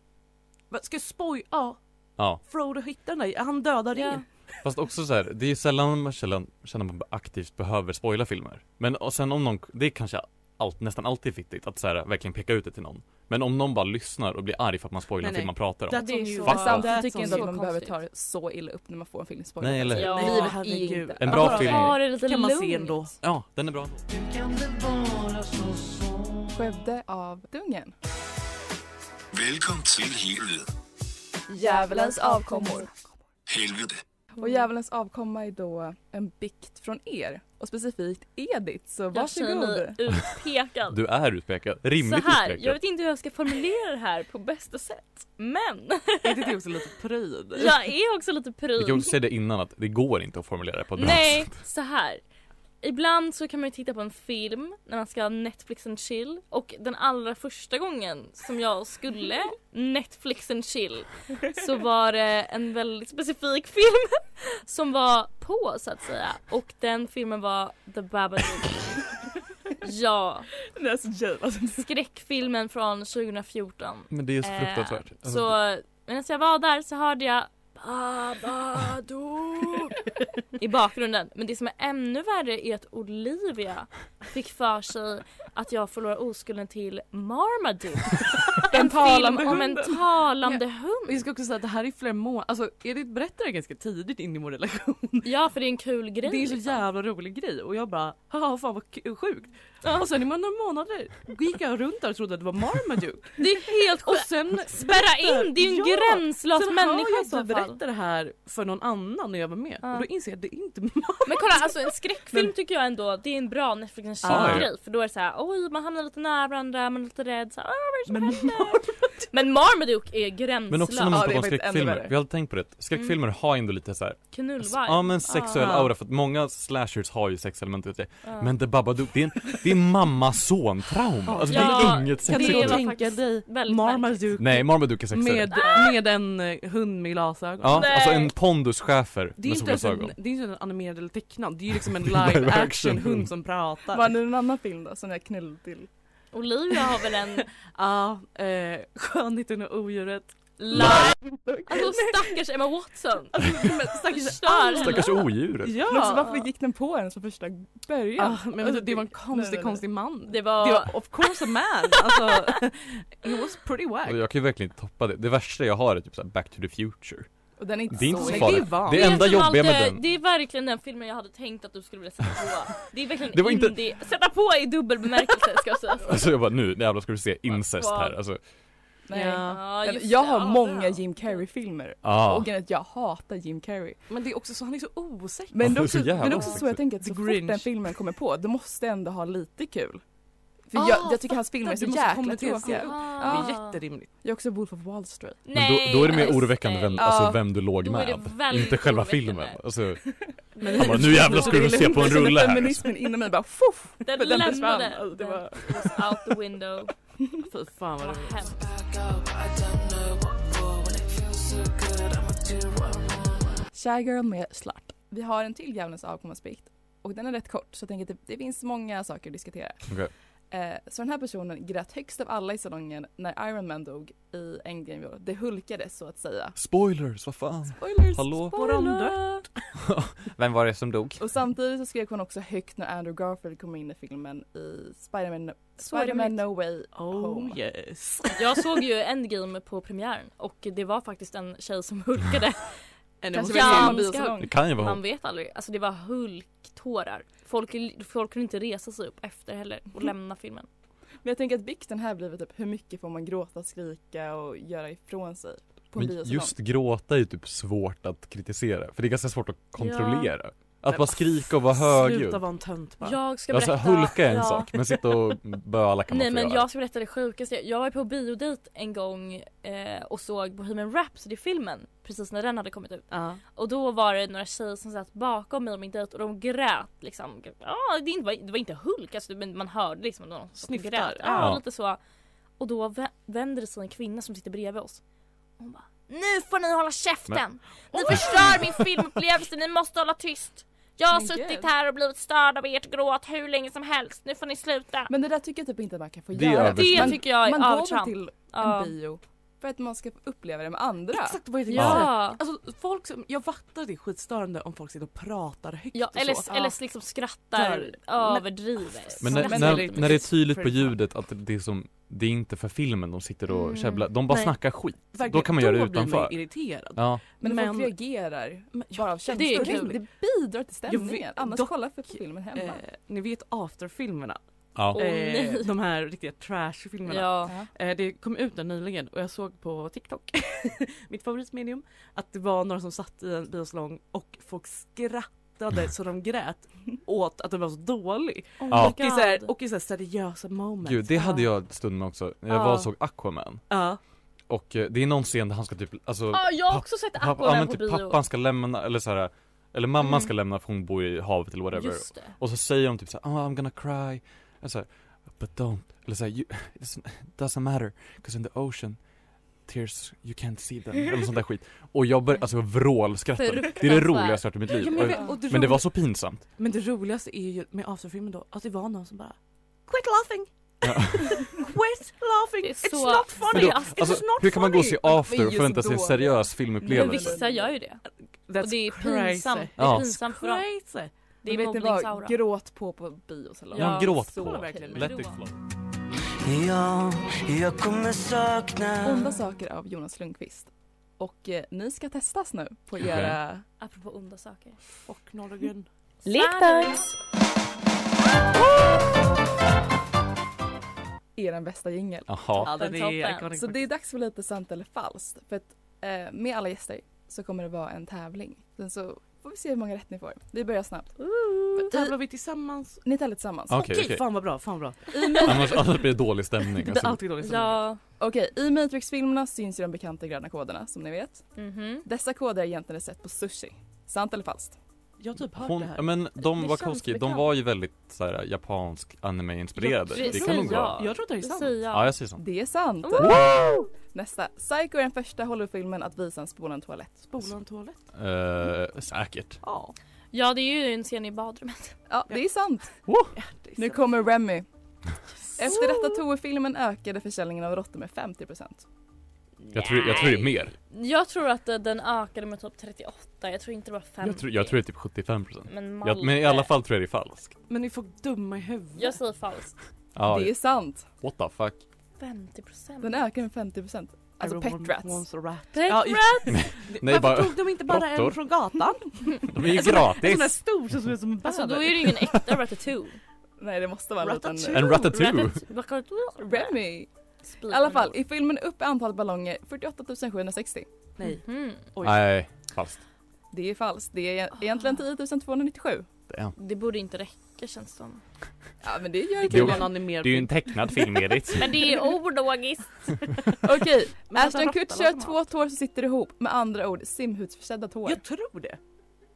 Speaker 5: Va, Ska jag spoil? Ja,
Speaker 4: Ja,
Speaker 5: Frodo hittar den där, han dödar
Speaker 6: Ja.
Speaker 5: ringen.
Speaker 4: fast också så här, det är ju sällan man känner känner man aktivt behöver spoila filmer. Men och sen om någon, det är kanske allt, nästan alltid fittigt att så här, verkligen peka ut det till någon. Men om någon bara lyssnar och blir arg för att man spoilar
Speaker 5: Nej,
Speaker 4: en
Speaker 5: nej.
Speaker 4: film man pratar om.
Speaker 5: That's
Speaker 6: Det är
Speaker 5: on you.
Speaker 6: så-
Speaker 3: Fast
Speaker 6: Ja.
Speaker 3: samtidigt
Speaker 5: That's
Speaker 3: tycker
Speaker 5: on
Speaker 3: jag inte att
Speaker 5: you.
Speaker 3: man
Speaker 6: Så
Speaker 3: behöver ta det
Speaker 6: konstigt.
Speaker 3: så illa upp när man får en film spoilad.
Speaker 4: Nej, eller hur?
Speaker 6: Ja,
Speaker 3: Livet är
Speaker 5: herregud.
Speaker 3: inte...
Speaker 4: En bra
Speaker 6: Bara
Speaker 4: film.
Speaker 6: Ta det lite
Speaker 5: Kan man se
Speaker 6: lugnt.
Speaker 5: ändå.
Speaker 4: Ja, den är bra.
Speaker 3: Skövde av Dungen.
Speaker 8: Velkommen til Helvede.
Speaker 3: Djävulens avkommor.
Speaker 8: Helvede.
Speaker 3: Och Djävulens avkomma är då en bikt från er och specifikt Edith, så
Speaker 6: Jag känner
Speaker 3: varsågod.
Speaker 6: mig utpekad.
Speaker 4: Du är utpekad. Rimligt
Speaker 6: så här,
Speaker 4: utpekad.
Speaker 6: jag vet inte hur jag ska formulera det här på bästa sätt. Men
Speaker 5: Är inte det också lite pryd?
Speaker 6: jag är också lite
Speaker 4: Vi kan
Speaker 6: pryd.
Speaker 4: också säga det innan att det går inte att formulera det på ett bra
Speaker 6: Nej,
Speaker 4: sätt.
Speaker 6: så här. Ibland så kan man ju titta på en film när man ska Netflix and chill och den allra första gången som jag skulle Netflix and chill så var det en väldigt specifik film som var på så att säga och den filmen var The Babadook. Ja,
Speaker 5: Det är så jävla
Speaker 6: skräckfilmen från 2014.
Speaker 4: Men det är så
Speaker 6: Eh,
Speaker 4: fruktansvärt. Alltså,
Speaker 6: Så medan jag var där så hörde jag Babadook i bakgrunden. Men det som är ännu värre är att Olivia fick för sig att jag förlorar oskulden till Marmaduke. En
Speaker 5: talande
Speaker 6: film om en
Speaker 5: hunden.
Speaker 6: talande
Speaker 5: Och jag
Speaker 6: hund.
Speaker 5: ska också säga att det här är flera månader, alltså Edith berättar det ganska tidigt in i vår relation.
Speaker 6: Ja för det är en kul grej.
Speaker 5: Det är en så
Speaker 6: liksom.
Speaker 5: jävla rolig grej och jag bara haha fan vad k- sjukt. Och sen i några månader gick jag runt där och trodde att det var Marmaduke.
Speaker 6: Det är helt
Speaker 5: Och
Speaker 6: sjukt.
Speaker 5: sen
Speaker 6: Spärra in, det är ju en
Speaker 5: Ja,
Speaker 6: gränslös
Speaker 5: sen hör
Speaker 6: människa
Speaker 5: jag
Speaker 6: i
Speaker 5: att du
Speaker 6: så fall.
Speaker 5: berättar det här för någon annan när jag var med
Speaker 6: Ja.
Speaker 5: och då inser jag att det är inte Marmaduke.
Speaker 6: Men kolla alltså en skräckfilm tycker jag ändå det är en bra Netflix and
Speaker 4: Ja,
Speaker 6: chill
Speaker 4: ja.
Speaker 6: grej för då är det så här, oj man hamnar lite nära varandra, man är lite rädd så här,
Speaker 5: Men
Speaker 6: Men Marmaduke är gränslös.
Speaker 4: Men också när
Speaker 3: Ja,
Speaker 4: man pratar
Speaker 3: det är
Speaker 4: om
Speaker 3: faktiskt ännu
Speaker 4: skräckfilmer,
Speaker 3: värre.
Speaker 4: vi har tänkt på det, skräckfilmer
Speaker 6: Mm.
Speaker 4: har ändå lite så här,
Speaker 6: Knullvarg.
Speaker 4: Alltså, ja men sexuell
Speaker 5: Ah.
Speaker 4: aura för att många slashers har ju sexelement i sig.
Speaker 6: Ja.
Speaker 4: Men The Babadook, det är, en, det är mamma-son-trauma, alltså det
Speaker 6: Ja,
Speaker 4: är inget
Speaker 6: det
Speaker 5: kan
Speaker 4: sex.
Speaker 6: är
Speaker 5: du
Speaker 6: var
Speaker 5: tänka
Speaker 6: faktiskt
Speaker 5: dig
Speaker 6: väldigt
Speaker 5: Marmaduke
Speaker 4: Nej, Marmaduke är sexuell.
Speaker 5: med, med en eh, hund med glasögon?
Speaker 4: Ja,
Speaker 6: Nej.
Speaker 4: alltså en pondus schäfer
Speaker 5: Det är,
Speaker 4: med
Speaker 5: inte ens en,
Speaker 4: solglasögon.
Speaker 5: det är inte en animerad eller tecknad, det är ju liksom en
Speaker 4: Live
Speaker 5: live
Speaker 4: action
Speaker 5: action hund som
Speaker 3: Var
Speaker 5: pratar.
Speaker 3: det en annan film då som jag knullade till?
Speaker 6: Olivia har väl en
Speaker 5: Ja, eh, skönheten och odjuret.
Speaker 6: larm. Alltså stackars Emma Watson.
Speaker 5: Alltså, Stackars
Speaker 6: Förstör henne.
Speaker 4: Stackars odjuret.
Speaker 5: Ja!
Speaker 3: Men så varför gick den på henne från första början?
Speaker 5: ah, men alltså, det var en konstig,
Speaker 3: nej, nej.
Speaker 5: konstig man.
Speaker 6: Det var,
Speaker 5: Det var of course a man. Alltså, it was pretty
Speaker 4: Och
Speaker 5: wack.
Speaker 4: jag kan ju verkligen inte toppa det. Det värsta jag har är typ såhär Back to the Future.
Speaker 3: Och den är inte
Speaker 4: Det är inte
Speaker 3: så
Speaker 4: så
Speaker 5: Men
Speaker 3: äcklig.
Speaker 4: farligt.
Speaker 5: det är van.
Speaker 4: Det enda
Speaker 6: Vet du,
Speaker 4: jobbiga med
Speaker 6: Malte,
Speaker 4: den,
Speaker 6: Det är verkligen den filmen jag hade tänkt att du skulle vilja sätta på. Det är verkligen
Speaker 4: Det var inte-
Speaker 6: indie. Sätta på i dubbel bemärkelse ska jag säga.
Speaker 4: alltså jag bara nu jävlar ska du se incest här. Alltså,
Speaker 3: Nej.
Speaker 5: Ja.
Speaker 6: Ja, just
Speaker 3: jag
Speaker 6: det.
Speaker 3: har
Speaker 6: Ja,
Speaker 3: många
Speaker 6: det.
Speaker 3: Jim Carrey-filmer.
Speaker 4: ah.
Speaker 3: Och grejen är att jag hatar Jim Carrey.
Speaker 5: Men det är också så, han är så osexig.
Speaker 3: Men
Speaker 4: Ja,
Speaker 3: det är också,
Speaker 4: så jävla
Speaker 3: men det är också så jag
Speaker 4: osexigt.
Speaker 3: tänker att
Speaker 5: The
Speaker 3: så
Speaker 5: Grinch.
Speaker 3: fort den filmen kommer på, då måste jag ändå ha lite kul. För
Speaker 6: Ah,
Speaker 3: jag, jag tycker hans filmer är så
Speaker 5: du måste
Speaker 3: jäkla
Speaker 5: kommentera.
Speaker 3: tråkiga.
Speaker 5: Det
Speaker 6: Ah.
Speaker 5: är jätterimligt.
Speaker 3: Jag är också Wolf of Wall Street.
Speaker 4: Men då, då är det mer
Speaker 6: men
Speaker 4: oroväckande vem,
Speaker 6: snälla.
Speaker 4: alltså,
Speaker 3: Ja.
Speaker 4: vem du låg
Speaker 6: Då är det
Speaker 4: med.
Speaker 6: väldigt
Speaker 4: Inte själva
Speaker 6: oroväckande.
Speaker 4: filmen. Alltså,
Speaker 5: Men
Speaker 4: han bara nu jävlar ska du
Speaker 3: ville
Speaker 4: se på en
Speaker 3: 100%
Speaker 4: rulle här.
Speaker 3: Feminismen inom mig bara foff!
Speaker 6: Den
Speaker 3: Men den försvann.
Speaker 6: lämnade.
Speaker 3: Alltså, det
Speaker 6: Den
Speaker 3: var...
Speaker 6: was out the window.
Speaker 5: Fy fan vad
Speaker 6: Vad
Speaker 5: det var.
Speaker 6: hemskt.
Speaker 3: Shy Girl med Slut. Vi har en till djävulens avkommaspikt och den är rätt kort så jag tänker att det, det finns många saker att diskutera.
Speaker 4: Okej.
Speaker 3: Eh, så den här personen grät högst av alla i salongen när Iron Man dog i Endgame. i år. Det hulkades så att säga.
Speaker 4: Spoilers, vad fan.
Speaker 3: Spoilers!
Speaker 4: Hallå?
Speaker 5: Har de
Speaker 3: Spoiler!
Speaker 4: Vem var det som dog?
Speaker 3: Och samtidigt så skrek hon också högt när Andrew Garfield kom in i filmen i Spider-Man No,
Speaker 6: Så är det
Speaker 3: Spider-Man
Speaker 6: mitt.
Speaker 3: no Way Home.
Speaker 5: Oh yes.
Speaker 6: Jag såg ju Endgame på premiären och det var faktiskt en tjej som hulkade.
Speaker 5: And it
Speaker 3: Kanske
Speaker 5: was
Speaker 3: vi har samma
Speaker 6: Ganska-
Speaker 3: biosalong.
Speaker 4: Det kan ju vara
Speaker 6: Mm. Man
Speaker 4: hon.
Speaker 6: vet aldrig. Alltså det var hulktårar. Folk, folk kunde inte resa sig upp efter heller och lämna filmen.
Speaker 3: Men jag tänker att bikten här blir väl typ hur mycket får man gråta, skrika och göra ifrån sig på en
Speaker 4: Men
Speaker 3: biosalong?
Speaker 4: just gråta är ju typ svårt att kritisera. För det är ganska svårt att kontrollera. Att bara skrika och vara högljudd.
Speaker 5: Sluta vara en tönt bara.
Speaker 6: Jag ska
Speaker 4: Alltså
Speaker 6: berätta.
Speaker 4: hulka är en
Speaker 6: Ja.
Speaker 4: sak, men sitta och böla kan man
Speaker 6: Nej
Speaker 4: inte
Speaker 6: men
Speaker 4: göra.
Speaker 6: jag ska berätta det sjukaste. Jag var på biodejt en gång eh, och såg Bohemian Rhapsody-filmen precis när den hade kommit ut.
Speaker 5: Ja.
Speaker 6: Och då var det några tjejer som satt bakom mig och min dejt och de grät liksom. Ja, det inte var, det var inte Hulk alltså, men man hörde liksom att någon som
Speaker 5: Snyftar.
Speaker 6: grät. Ja,
Speaker 4: Ja.
Speaker 6: lite så. Och då vä- vänder det sig en kvinna som sitter bredvid oss. Hon bara Nu får ni hålla käften! Ni förstör min filmupplevelse, ni måste hålla tyst! Jag har
Speaker 3: Men
Speaker 6: suttit
Speaker 3: gud.
Speaker 6: här och blivit störd av ert gråt hur länge som helst, nu får ni sluta!
Speaker 3: Men det där tycker jag typ inte man kan få
Speaker 4: Det är
Speaker 3: göra.
Speaker 4: övertramp.
Speaker 6: Det tycker jag är
Speaker 3: man går väl
Speaker 6: övertramp.
Speaker 3: till
Speaker 6: Ja.
Speaker 3: en bio för att man ska få uppleva det med andra.
Speaker 5: Exakt vad jag tänkte säga.
Speaker 6: Ja!
Speaker 5: Alltså folk som, jag fattar det är skitstörande om folk sitter och pratar högt
Speaker 6: Ja,
Speaker 5: och
Speaker 6: eller,
Speaker 5: så.
Speaker 6: eller liksom skrattar,
Speaker 5: Där. Men-
Speaker 6: överdriver.
Speaker 4: Men
Speaker 5: Som
Speaker 3: Alltså,
Speaker 4: när,
Speaker 5: en
Speaker 4: när,
Speaker 5: väldigt-
Speaker 4: när det är tydligt på
Speaker 5: Fredrik.
Speaker 4: ljudet att det är, som, det är inte för filmen de sitter och
Speaker 6: Mm.
Speaker 4: käbblar, de bara
Speaker 5: Nej.
Speaker 4: snackar skit.
Speaker 5: Verkligen,
Speaker 4: Då kan man göra det
Speaker 5: Då blir
Speaker 4: utanför.
Speaker 5: man ju irriterad.
Speaker 4: Ja.
Speaker 3: Men,
Speaker 5: Men-
Speaker 3: folk reagerar
Speaker 5: Men-
Speaker 3: bara av känslor.
Speaker 6: är
Speaker 3: Det,
Speaker 6: kul.
Speaker 3: det bidrar till stämningen.
Speaker 5: Jag vet-
Speaker 3: Annars
Speaker 5: dock-
Speaker 3: kolla för filmen hemma.
Speaker 5: Eh, ni vet afterfilmerna? Eh,
Speaker 4: Ja.
Speaker 6: Åh, nej.
Speaker 5: de här riktiga trashfilmerna.
Speaker 6: Ja.
Speaker 5: Eh, det kom ut där nyligen och jag såg på TikTok, mitt favoritmedium, att det var några som satt i en biosalong och folk skrattade så de grät åt att den var så dålig.
Speaker 6: Oh
Speaker 4: Ja.
Speaker 5: Och i, så här, och i så här seriösa moments.
Speaker 4: Gud, det hade jag stunden med också. När jag
Speaker 5: Ja.
Speaker 4: var och såg Aquaman.
Speaker 5: Ja.
Speaker 4: Och eh, det är någon scen där han ska typ, alltså
Speaker 6: Ja, jag har också sett
Speaker 4: pappa, ja,
Speaker 6: Aquaman
Speaker 4: men
Speaker 6: på
Speaker 4: typ
Speaker 6: bio.
Speaker 4: pappan ska lämna, eller så här, eller mamman
Speaker 6: Mm.
Speaker 4: ska lämna för hon bor i havet eller whatever.
Speaker 6: Just det.
Speaker 4: Och så säger de typ såhär, oh, I'm gonna cry. Eller så här, but don't. Eller såhär, it doesn't matter. Cause in the ocean, tears, you can't see them. Eller sånt där skit. Och jag började, alltså jag vrålskrattade. Det är det
Speaker 6: Fruktansvärt.
Speaker 4: roligaste jag hört i mitt liv.
Speaker 5: men,
Speaker 4: Och-
Speaker 5: jag vet- och det
Speaker 4: Men det var
Speaker 5: roliga-
Speaker 4: så pinsamt.
Speaker 5: men det roligaste är ju med afterfilmen då att det var någon som bara Quit laughing! Quit laughing!
Speaker 6: Det är
Speaker 5: It's
Speaker 6: så-
Speaker 5: not
Speaker 6: Men
Speaker 5: funny!
Speaker 6: då-
Speaker 5: It's
Speaker 6: alltså,
Speaker 5: just not
Speaker 4: hur kan man gå och
Speaker 5: funny!
Speaker 4: se after
Speaker 3: Men
Speaker 4: och
Speaker 3: just
Speaker 4: förvänta sig en
Speaker 3: då-
Speaker 4: seriös
Speaker 6: Men
Speaker 3: Lever.
Speaker 4: filmupplevelse?
Speaker 6: vissa gör ju det.
Speaker 5: That's
Speaker 6: Och det är
Speaker 5: crazy.
Speaker 6: pinsamt. Det
Speaker 4: Ja.
Speaker 6: är pinsamt för dem.
Speaker 5: Crazy!
Speaker 6: Det är
Speaker 3: Men vet ni
Speaker 6: mobbningsaura.
Speaker 3: vad? Gråt på på biosalong.
Speaker 6: Ja,
Speaker 4: Ja, gråt
Speaker 3: så
Speaker 4: på.
Speaker 3: verkligen.
Speaker 4: Let it
Speaker 6: Gråt.
Speaker 4: flow.
Speaker 9: Ja, jag kommer sakna
Speaker 3: Onda saker av Jonas Lundqvist. Och eh, ni ska testas nu på
Speaker 4: Okej.
Speaker 3: era...
Speaker 6: Apropå onda saker.
Speaker 5: Fuck Norrgren.
Speaker 7: Lekdags!
Speaker 3: Er bästa jingel.
Speaker 4: Jaha.
Speaker 5: Ja, den
Speaker 6: toppen.
Speaker 5: är iconic.
Speaker 3: Så det är dags för lite sant eller falskt. För att eh, med alla gäster så kommer det vara en tävling. Sen så får vi se hur många rätt ni får. Vi börjar snabbt. Mm.
Speaker 5: Tävlar vi tillsammans?
Speaker 3: Ni tävlar tillsammans.
Speaker 4: Okej, okej.
Speaker 5: Fan vad bra, fan vad bra.
Speaker 4: Annars, annars blir det dålig stämning.
Speaker 5: Det är
Speaker 4: Alltså,
Speaker 5: alltid dåligt stämning.
Speaker 6: Ja.
Speaker 3: Okej, i Matrix-filmerna syns ju de bekanta gröna koderna som ni vet.
Speaker 6: Mhm.
Speaker 3: Dessa koder är egentligen sett på sushi. Sant eller falskt?
Speaker 5: Jag har typ hört
Speaker 4: hon,
Speaker 5: det
Speaker 4: ja,
Speaker 5: här.
Speaker 4: men de
Speaker 6: Det
Speaker 4: Wachowski,
Speaker 6: känns
Speaker 4: de
Speaker 6: bekant.
Speaker 4: var ju väldigt så här, japansk anime-inspirerade.
Speaker 6: Ja,
Speaker 4: Det kan nog
Speaker 6: precis, ja.
Speaker 4: vara.
Speaker 5: Jag tror det är
Speaker 6: Det
Speaker 5: sant.
Speaker 6: säger
Speaker 4: Ja,
Speaker 6: jag.
Speaker 4: jag säger sånt.
Speaker 3: Det är sant!
Speaker 4: Wow!
Speaker 3: Nästa. Psycho är den första Hollywoodfilmen att visa en spolad toalett.
Speaker 5: Spola en toalett.
Speaker 4: Eh, säkert.
Speaker 5: Ja.
Speaker 6: Ja det är ju en scen i badrummet.
Speaker 3: Ja, det är sant!
Speaker 5: det är
Speaker 3: Nu
Speaker 5: sant.
Speaker 3: kommer Remy. Efter detta Toe-filmen ökade försäljningen av råttor med 50 procent.
Speaker 4: Jag tror, jag tror det är mer.
Speaker 6: Jag tror att eh, den ökade med typ 38, jag tror inte det var 50.
Speaker 4: Jag tror, jag tror det är typ 75 procent.
Speaker 6: Men,
Speaker 4: Jag,
Speaker 6: Malte,
Speaker 4: men i alla fall tror jag det är falskt.
Speaker 5: Men ni får dumma i huvudet.
Speaker 6: Jag säger falskt.
Speaker 4: Ja,
Speaker 3: Det är sant.
Speaker 4: what the fuck.
Speaker 6: 50 procent.
Speaker 3: Den ökade med 50 procent. Alltså
Speaker 5: Everyone
Speaker 3: pet rats.
Speaker 5: wants a rat.
Speaker 6: Pet
Speaker 5: Ja,
Speaker 6: rat!
Speaker 4: Nej
Speaker 5: Varför
Speaker 4: bara,
Speaker 5: tog de inte bara
Speaker 4: råttor.
Speaker 5: en från gatan?
Speaker 4: de är ju
Speaker 5: En sån där
Speaker 4: gratis.
Speaker 5: stor som ser ut som en
Speaker 6: Alltså då är
Speaker 5: bäver.
Speaker 6: det ju ingen äkta ratatouille.
Speaker 3: Nej det måste vara en liten...
Speaker 5: Ratatouille.
Speaker 4: En ratatouille.
Speaker 6: Ratatouille.
Speaker 3: Remy! I alla fall, i filmen upp är antalet ballonger 48 760.
Speaker 5: Nej.
Speaker 6: Mm.
Speaker 5: Oj.
Speaker 4: Nej, falskt.
Speaker 3: Det är falskt. Det är egentligen 10 297.
Speaker 4: Damn.
Speaker 6: Det borde inte räcka känns som.
Speaker 3: Ja men det gör det.
Speaker 5: Det kan
Speaker 4: Jo.
Speaker 5: vara en animerad
Speaker 4: Det är ju
Speaker 5: film.
Speaker 4: en tecknad film Edith.
Speaker 6: Men det är ologiskt.
Speaker 3: Okej,
Speaker 5: Men alltså,
Speaker 3: Ashton
Speaker 5: råttor
Speaker 3: Kutcher
Speaker 5: var smart.
Speaker 3: två tår som sitter ihop. Med andra ord simhudsförsedda tår.
Speaker 5: Jag tror det.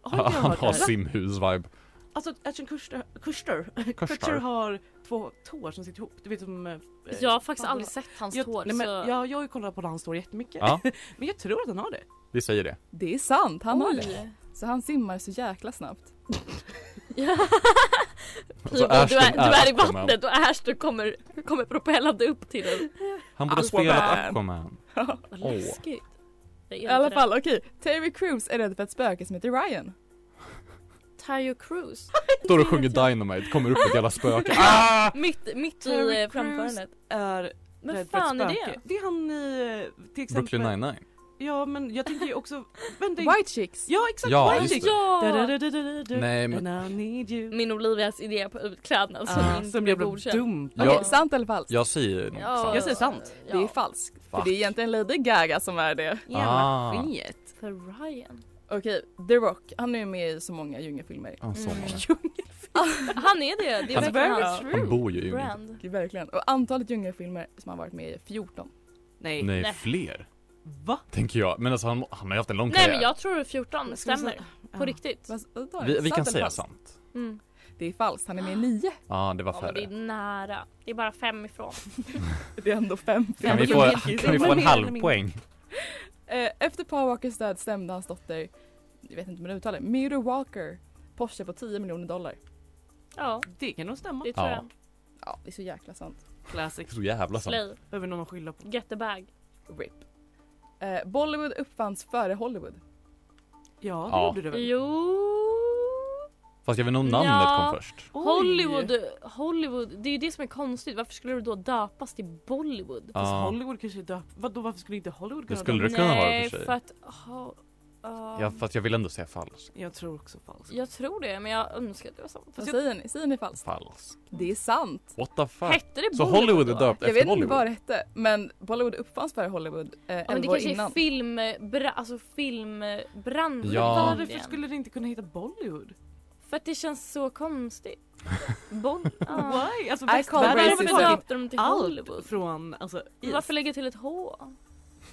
Speaker 5: Har inte jag
Speaker 4: Han
Speaker 5: hört
Speaker 4: har
Speaker 5: det? här?
Speaker 4: simhus-vibe.
Speaker 5: Alltså Ashton Kutcher, Kutcher,
Speaker 4: Kurstar.
Speaker 5: Kutcher har två tår som sitter ihop. Du vet som... eh,
Speaker 6: Jag har faktiskt
Speaker 5: Pandora.
Speaker 6: aldrig sett hans
Speaker 5: jag,
Speaker 6: tår
Speaker 5: nej, men,
Speaker 6: så...
Speaker 5: jag, jag har ju kollat på hans tår jättemycket.
Speaker 4: Ja,
Speaker 5: Men jag tror att han har det.
Speaker 4: vi säger det.
Speaker 3: Det är sant, han har
Speaker 6: Oj.
Speaker 3: det. Så han simmar så jäkla snabbt.
Speaker 6: Ja.
Speaker 4: Så
Speaker 6: Typ, du, är, du
Speaker 4: Alltså, Ashton
Speaker 6: är i
Speaker 4: Aquaman.
Speaker 6: vattnet och Ashton kommer, kommer propellande upp till den.
Speaker 4: Han borde
Speaker 3: Aquaman.
Speaker 4: spela Aquaman.
Speaker 6: Vad
Speaker 4: Åh.
Speaker 6: läskigt. Jag
Speaker 3: I
Speaker 6: gillar
Speaker 3: alla
Speaker 6: inte
Speaker 3: fall, okej. Terry Crews är rädd för ett spöke som heter Ryan.
Speaker 6: det. Tayo Cruz.
Speaker 4: Står och sjunger Dynamite, kommer upp ett jävla spöke. Ah!
Speaker 6: Mitt, mitt
Speaker 5: Terry
Speaker 6: i eh,
Speaker 5: Crews.
Speaker 6: framförandet.
Speaker 5: Är
Speaker 6: Men
Speaker 5: rädd för ett
Speaker 6: fan är
Speaker 5: spöke.
Speaker 6: det?
Speaker 5: Det är han i eh, till exempel...
Speaker 4: Brooklyn 99.
Speaker 5: Ja men jag tänker ju också... Vänta,
Speaker 3: White Chicks.
Speaker 5: Ja exakt!
Speaker 4: Ja,
Speaker 5: White
Speaker 4: just
Speaker 5: Chicks.
Speaker 4: det.
Speaker 6: Ja!
Speaker 5: Da-da-da-da-da-da.
Speaker 4: Nej, men-
Speaker 5: And I need you.
Speaker 6: Min Olivias idé på utklädnad
Speaker 5: Ah,
Speaker 6: som Alltså, inte
Speaker 5: Mm. som
Speaker 6: blev
Speaker 5: jag blev
Speaker 6: godkänd.
Speaker 5: dum på.
Speaker 3: Okej,
Speaker 4: Ja.
Speaker 3: sant eller falskt?
Speaker 4: Jag säger nog
Speaker 6: Ja.
Speaker 4: sant.
Speaker 5: Jag säger sant.
Speaker 6: Ja.
Speaker 3: Det är falskt. För
Speaker 4: Fuck.
Speaker 3: det är egentligen Lady Gaga som är det.
Speaker 5: Jävla
Speaker 4: Ah.
Speaker 5: skit.
Speaker 6: För Ryan.
Speaker 3: Okej, The Rock. Han är ju med i så många djungelfilmer.
Speaker 4: Ah, så
Speaker 6: Mm.
Speaker 4: många.
Speaker 6: Han är det. Det är
Speaker 4: Han-
Speaker 6: verkligen
Speaker 5: Very
Speaker 6: hans
Speaker 4: Han bor ju i Ungern.
Speaker 6: brand.
Speaker 3: Gud, Verkligen. Och antalet djungelfilmer som han varit med i är 14.
Speaker 5: Nej.
Speaker 4: Nej,
Speaker 6: Nej.
Speaker 4: fler.
Speaker 5: Mm. Va?
Speaker 4: Tänker jag. Men alltså han, han har ju haft en lång
Speaker 6: Nej men
Speaker 4: karriär.
Speaker 6: jag tror 14
Speaker 5: Ska vi
Speaker 6: stämmer.
Speaker 5: säga-
Speaker 6: På
Speaker 5: Ja.
Speaker 6: riktigt.
Speaker 3: Vad- vad tar det?
Speaker 4: Vi, vi kan
Speaker 3: Sant eller
Speaker 4: säga
Speaker 3: falskt?
Speaker 4: sant.
Speaker 6: Mm.
Speaker 3: Det är falskt. Han är med i nio.
Speaker 4: Ja, det var
Speaker 6: Ja, men det är
Speaker 4: färre.
Speaker 6: nära. Det är bara fem ifrån.
Speaker 3: Det är ändå fem filmer.
Speaker 4: Kan vi få, kan vi få en halv poäng?
Speaker 3: Eh, Efter Paul Walkers död stämde hans dotter, jag vet inte hur man uttalar det, Muriel Walker Porsche på 10 miljoner dollar.
Speaker 6: Ja,
Speaker 5: Det kan nog stämma.
Speaker 6: det tror
Speaker 4: Ja.
Speaker 6: jag.
Speaker 3: Ja, det är så jäkla sant.
Speaker 5: Classic.
Speaker 4: Så jävla sant.
Speaker 6: Slay.
Speaker 5: Behöver någon att skylla på.
Speaker 6: Get the bag.
Speaker 3: RIP. Eh, Bollywood uppfanns före Hollywood.
Speaker 5: Ja, det
Speaker 4: Ja.
Speaker 5: gjorde det väl?
Speaker 6: Jo.
Speaker 4: Fast jag vet inte om namnet
Speaker 6: Ja.
Speaker 4: kom först.
Speaker 5: Oj.
Speaker 6: Hollywood, Hollywood, det är ju det som är konstigt. Varför skulle det då döpas till Bollywood?
Speaker 5: Fast
Speaker 4: Ja.
Speaker 5: Hollywood kanske är döpt. Vadå varför skulle inte Hollywood
Speaker 4: Det
Speaker 5: kunna
Speaker 4: skulle
Speaker 5: döpa-
Speaker 4: det kunna vara i
Speaker 6: Nej,
Speaker 4: och för sig.
Speaker 6: för att... ha- ja,
Speaker 4: Ja, fast jag vill ändå säga falskt.
Speaker 5: Jag tror också falskt.
Speaker 6: Jag tror det, men jag önskar att det var sant.
Speaker 3: Vad
Speaker 6: Fast jag,
Speaker 3: säger ni? Säger ni falskt?
Speaker 4: Falskt.
Speaker 3: Det är sant.
Speaker 4: What the fuck?
Speaker 6: hette det
Speaker 4: Så
Speaker 6: Bollywood
Speaker 4: Hollywood är
Speaker 6: då?
Speaker 4: döpt
Speaker 3: Jag
Speaker 4: efter
Speaker 3: vet inte vad
Speaker 4: Bollywood?
Speaker 3: det hette, men Bollywood uppfanns före Hollywood eh,
Speaker 6: Ja, men det
Speaker 3: 11 år
Speaker 6: kanske är
Speaker 3: innan.
Speaker 6: film, bra, alltså filmbranschen
Speaker 4: Ja.
Speaker 6: i
Speaker 5: Varför
Speaker 6: Indien.
Speaker 5: skulle det inte kunna heta Bollywood?
Speaker 6: För att det känns så konstigt. Boll... ja.
Speaker 5: Why? Alltså
Speaker 3: call
Speaker 5: västvärlden har
Speaker 6: Varför
Speaker 3: racist.
Speaker 5: väl tagit
Speaker 6: döpte de till Hollywood?
Speaker 5: allt från alltså is.
Speaker 6: Varför lägga till ett H?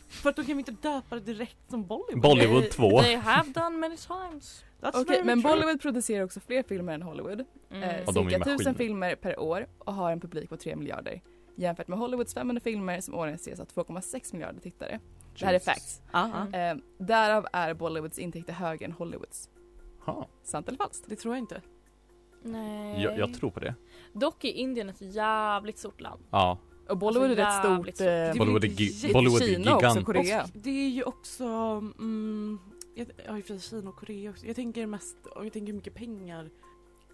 Speaker 5: För att de kan väl inte döpa det direkt som Bollywood?
Speaker 4: Bollywood 2.
Speaker 6: Eh, They have done many times.
Speaker 5: That's
Speaker 3: Okej,
Speaker 5: very
Speaker 3: men
Speaker 5: true.
Speaker 3: Bollywood producerar också fler filmer än Hollywood. Eh,
Speaker 6: Mm.
Speaker 4: Och de är
Speaker 3: cirka
Speaker 4: maskiner.
Speaker 3: 1000 filmer per år och har en publik på 3 miljarder. Jämfört med Hollywoods 500 filmer som årligen ses av 2,6 miljarder tittare. Det här är
Speaker 4: Jesus.
Speaker 3: facts.
Speaker 5: Ah, ah.
Speaker 3: Eh, därav är Bollywoods intäkter högre än Hollywoods.
Speaker 4: Ha.
Speaker 3: Sant eller falskt?
Speaker 5: Det tror jag inte.
Speaker 6: Nej.
Speaker 4: Jag, jag tror på det.
Speaker 6: Dock är Indien ett jävligt stort land.
Speaker 4: Ja.
Speaker 3: Och Bollywood
Speaker 6: Alltså,
Speaker 3: är rätt
Speaker 6: jävligt
Speaker 3: stort.
Speaker 6: stort.
Speaker 3: Eh,
Speaker 4: Bollywood är,
Speaker 5: inte
Speaker 4: gi-
Speaker 5: jätte-
Speaker 4: Bollywood är
Speaker 3: Kina också,
Speaker 4: gigant.
Speaker 3: Korea.
Speaker 5: Det är ju också, mm, jag, ja i och för sig Kina och Korea också. Jag tänker mest, om jag tänker hur mycket pengar.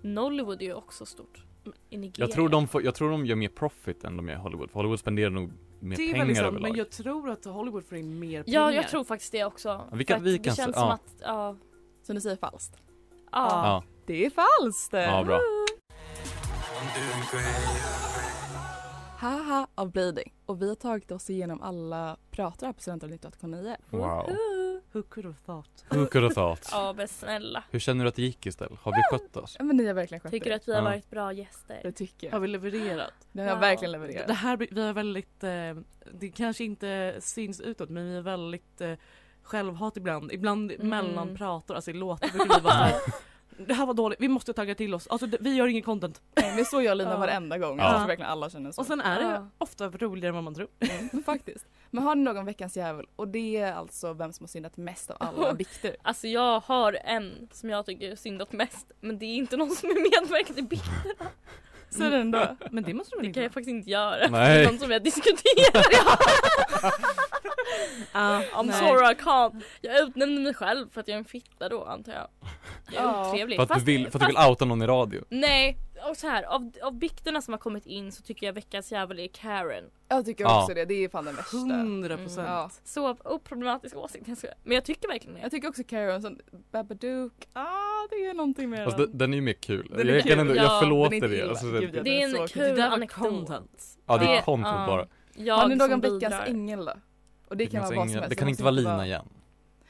Speaker 6: Nollywood är ju också stort. I Nigeria.
Speaker 4: Jag tror, de får, jag tror de gör mer profit än de gör i Hollywood, för Hollywood spenderar nog mer
Speaker 5: det är
Speaker 4: pengar
Speaker 5: väl sant,
Speaker 4: överlag.
Speaker 5: typ liksom, men jag tror att Hollywood får in mer pengar.
Speaker 6: Ja, jag tror faktiskt det också.
Speaker 4: Ja, vi kan-
Speaker 6: För att
Speaker 4: vi
Speaker 6: det
Speaker 4: kan-
Speaker 6: känns
Speaker 4: ja.
Speaker 6: som att, ja.
Speaker 3: Så ni säger falskt?
Speaker 6: ja.
Speaker 4: Ja,
Speaker 3: Det är falskt!
Speaker 4: ja bra.
Speaker 3: Haha av Brady. Och vi har tagit oss igenom alla pratar här på Studentradion 98,9.
Speaker 4: Wow.
Speaker 5: Who could have thought?
Speaker 4: Who could have thought?
Speaker 6: Ja, men snälla.
Speaker 4: Hur känner du att det gick istället? Har vi skött oss?
Speaker 3: Ja, Men ni har verkligen skött
Speaker 6: Tycker
Speaker 3: er.
Speaker 6: du att vi har
Speaker 4: Ja.
Speaker 6: varit bra gäster?
Speaker 3: Det tycker
Speaker 5: Har
Speaker 3: jag.
Speaker 5: vi levererat?
Speaker 3: Ni har
Speaker 6: Wow.
Speaker 3: verkligen
Speaker 5: Det
Speaker 3: levererat.
Speaker 5: här, blir- vi är väldigt, eh, det kanske inte syns utåt men vi är väldigt eh, självhat ibland. Ibland
Speaker 6: Mm.
Speaker 5: mellan prator, alltså i låtar brukar vi vara såhär, det här var dåligt, vi måste tagga till oss. Alltså det, vi gör ingen content.
Speaker 3: Nej, Det är så jag och Lina
Speaker 5: Ja.
Speaker 3: varenda gång.
Speaker 4: Ja.
Speaker 3: Jag tror verkligen alla känner så.
Speaker 5: Och sen är det
Speaker 6: Ja.
Speaker 5: ofta roligare än vad man tror.
Speaker 3: Mm, faktiskt. Men har ni någon veckans jävel? Och det är alltså vem som har syndat mest av alla bikter.
Speaker 6: Alltså jag har en som jag tycker syndat mest men det är inte någon som är medverkande i bilderna.
Speaker 3: Säg den då.
Speaker 5: Men det måste du väl
Speaker 6: Det
Speaker 5: inte
Speaker 6: kan jag
Speaker 5: vara?
Speaker 6: faktiskt inte göra.
Speaker 4: Nej.
Speaker 6: Det är något som vi har diskuterat.
Speaker 5: Ah,
Speaker 6: I'm
Speaker 5: nej.
Speaker 6: sorry I can't. Jag utnämnde mig själv för att jag är en fitta då antar jag. Jag är
Speaker 3: Ja.
Speaker 6: otrevlig.
Speaker 4: För att, du
Speaker 6: Fast-
Speaker 4: vill, för att du
Speaker 6: fast-
Speaker 4: vill outa någon i radio.
Speaker 6: Nej, och så här, av, av bikterna som har kommit in så tycker jag veckans jävel är Karen.
Speaker 3: Jag tycker
Speaker 4: Ja.
Speaker 3: också det, det är fan den värsta.
Speaker 5: 100 procent.
Speaker 6: Mm,
Speaker 3: Ja.
Speaker 6: Så oproblematisk åsikt, jag skojar. Men jag tycker verkligen det.
Speaker 3: Jag tycker också Karen sån Babadook, ah det är någonting med
Speaker 4: Fast
Speaker 3: den.
Speaker 4: Alltså, den, den är ju mer kul.
Speaker 3: är
Speaker 4: jag,
Speaker 3: kul,
Speaker 4: Kan ändå,
Speaker 6: ja.
Speaker 4: jag förlåter
Speaker 3: Den är inte
Speaker 4: det.
Speaker 3: illa.
Speaker 4: Alltså,
Speaker 3: Gud,
Speaker 4: det.
Speaker 3: ja.
Speaker 6: Det är
Speaker 3: den är
Speaker 6: en
Speaker 3: så
Speaker 6: kul
Speaker 5: Det där var
Speaker 6: anekdot.
Speaker 5: content.
Speaker 4: Ja, det är
Speaker 6: Det-
Speaker 4: content
Speaker 6: ja.
Speaker 4: bara.
Speaker 6: Jag
Speaker 3: Har ni någon
Speaker 6: som
Speaker 3: veckans
Speaker 6: bidrar.
Speaker 3: ängel då? Och det kan
Speaker 4: Veckans
Speaker 3: vara vad som
Speaker 4: ängel.
Speaker 3: helst.
Speaker 4: Det kan inte
Speaker 3: måste
Speaker 4: vara Lina igen.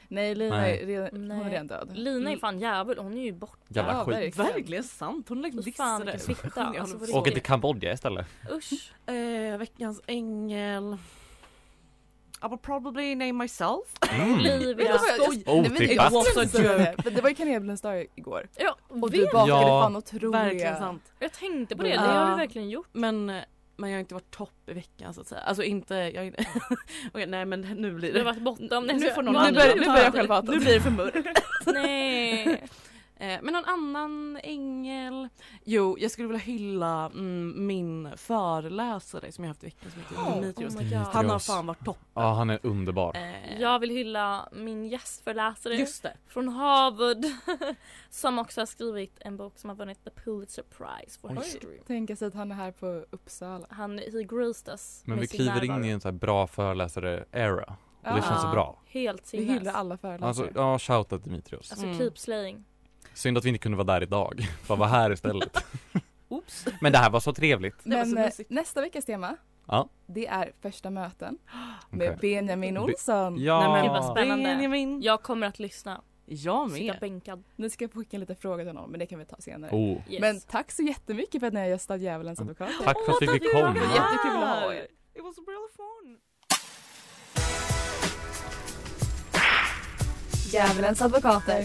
Speaker 3: Nej Lina
Speaker 4: Nej.
Speaker 3: Är redan, hon är
Speaker 6: Nej.
Speaker 3: redan död.
Speaker 6: Lina är fan djävul, hon är ju borta.
Speaker 4: Jävla
Speaker 3: Ja,
Speaker 4: skit.
Speaker 3: verkligen.
Speaker 5: Verkligen sant, hon lägger
Speaker 6: Fy
Speaker 5: dissar
Speaker 6: fan,
Speaker 5: det.
Speaker 6: vilken fitta,
Speaker 5: Sjunger
Speaker 6: alltså,
Speaker 5: hon
Speaker 6: på
Speaker 5: så.
Speaker 6: riktigt.
Speaker 4: Åka till Kambodja istället.
Speaker 6: Usch.
Speaker 5: Eh, veckans ängel. I will probably name myself.
Speaker 4: Mm.
Speaker 6: Olivia.
Speaker 3: skoj!
Speaker 4: Otippat.
Speaker 3: Det var ju kanelbullens dag igår.
Speaker 6: Ja,
Speaker 3: Och du
Speaker 6: vet,
Speaker 3: bakade
Speaker 4: Ja.
Speaker 3: fan otroliga.
Speaker 5: Verkligen sant.
Speaker 6: jag tänkte på det, det
Speaker 5: Ja.
Speaker 6: har vi verkligen gjort.
Speaker 5: Men, eh, men jag har inte varit topp i veckan så att säga. Alltså inte, jag, Okej, nej men nu blir
Speaker 6: Du har
Speaker 5: det.
Speaker 6: varit bortom, nej nu får någon
Speaker 5: Alltså, Nu
Speaker 6: annan.
Speaker 5: börjar- nu börjar jag
Speaker 6: självhatet.
Speaker 5: Nu blir det för mörkt.
Speaker 6: Nej.
Speaker 5: Eh, men någon annan ängel. Jo, jag skulle vilja hylla mm, min föreläsare som jag haft i veckan som heter
Speaker 6: Oh,
Speaker 5: Dimitrios.
Speaker 6: oh my god.
Speaker 5: Han har
Speaker 4: Dimitrios.
Speaker 5: fan varit toppen.
Speaker 4: Ja, han är underbar.
Speaker 5: Eh,
Speaker 6: Jag vill hylla min gästföreläsare
Speaker 5: Just det.
Speaker 6: från Harvard som också har skrivit en bok som har vunnit The Pulitzer Prize for
Speaker 4: Oj.
Speaker 6: history.
Speaker 3: Tänka sig att han är här på Uppsala.
Speaker 6: Han, he graced us
Speaker 4: Men
Speaker 6: med
Speaker 4: vi
Speaker 6: sin
Speaker 4: kliver in
Speaker 6: närvaro.
Speaker 4: i en så här bra föreläsare-era. Och det
Speaker 3: Ja.
Speaker 4: känns så bra.
Speaker 6: Helt
Speaker 3: Vi
Speaker 6: sinnes.
Speaker 3: hyllar alla
Speaker 4: Alltså,
Speaker 3: föreläsare.
Speaker 4: ja, shoutout Dimitrios.
Speaker 6: Alltså
Speaker 5: Mm.
Speaker 6: keep slaying.
Speaker 4: Synd att vi inte kunde vara där idag. Bara vara här istället.
Speaker 5: Oops.
Speaker 4: Men det här var så trevligt.
Speaker 5: det var så
Speaker 3: Men eh,
Speaker 5: mysigt.
Speaker 3: nästa veckas tema,
Speaker 4: Ja.
Speaker 3: det är första möten
Speaker 4: Okej.
Speaker 3: med Benjamin
Speaker 4: Be-
Speaker 3: Olsson.
Speaker 4: Ja.
Speaker 5: Nej, men
Speaker 6: Gud, vad spännande.
Speaker 5: Benjamin.
Speaker 6: Jag kommer att lyssna.
Speaker 5: Jag
Speaker 6: Sitta
Speaker 5: med.
Speaker 6: bänkad.
Speaker 3: Ni ska skicka lite frågor till honom men det kan vi ta senare.
Speaker 4: Oh.
Speaker 6: Yes.
Speaker 3: Men tack så jättemycket för att ni har gästat Djävulens advokat.
Speaker 4: Tack för att vi fick
Speaker 5: Åh, tack
Speaker 4: komma.
Speaker 3: Det var jättekul att ha er.
Speaker 5: It was real fun.
Speaker 7: Djävulens advokater.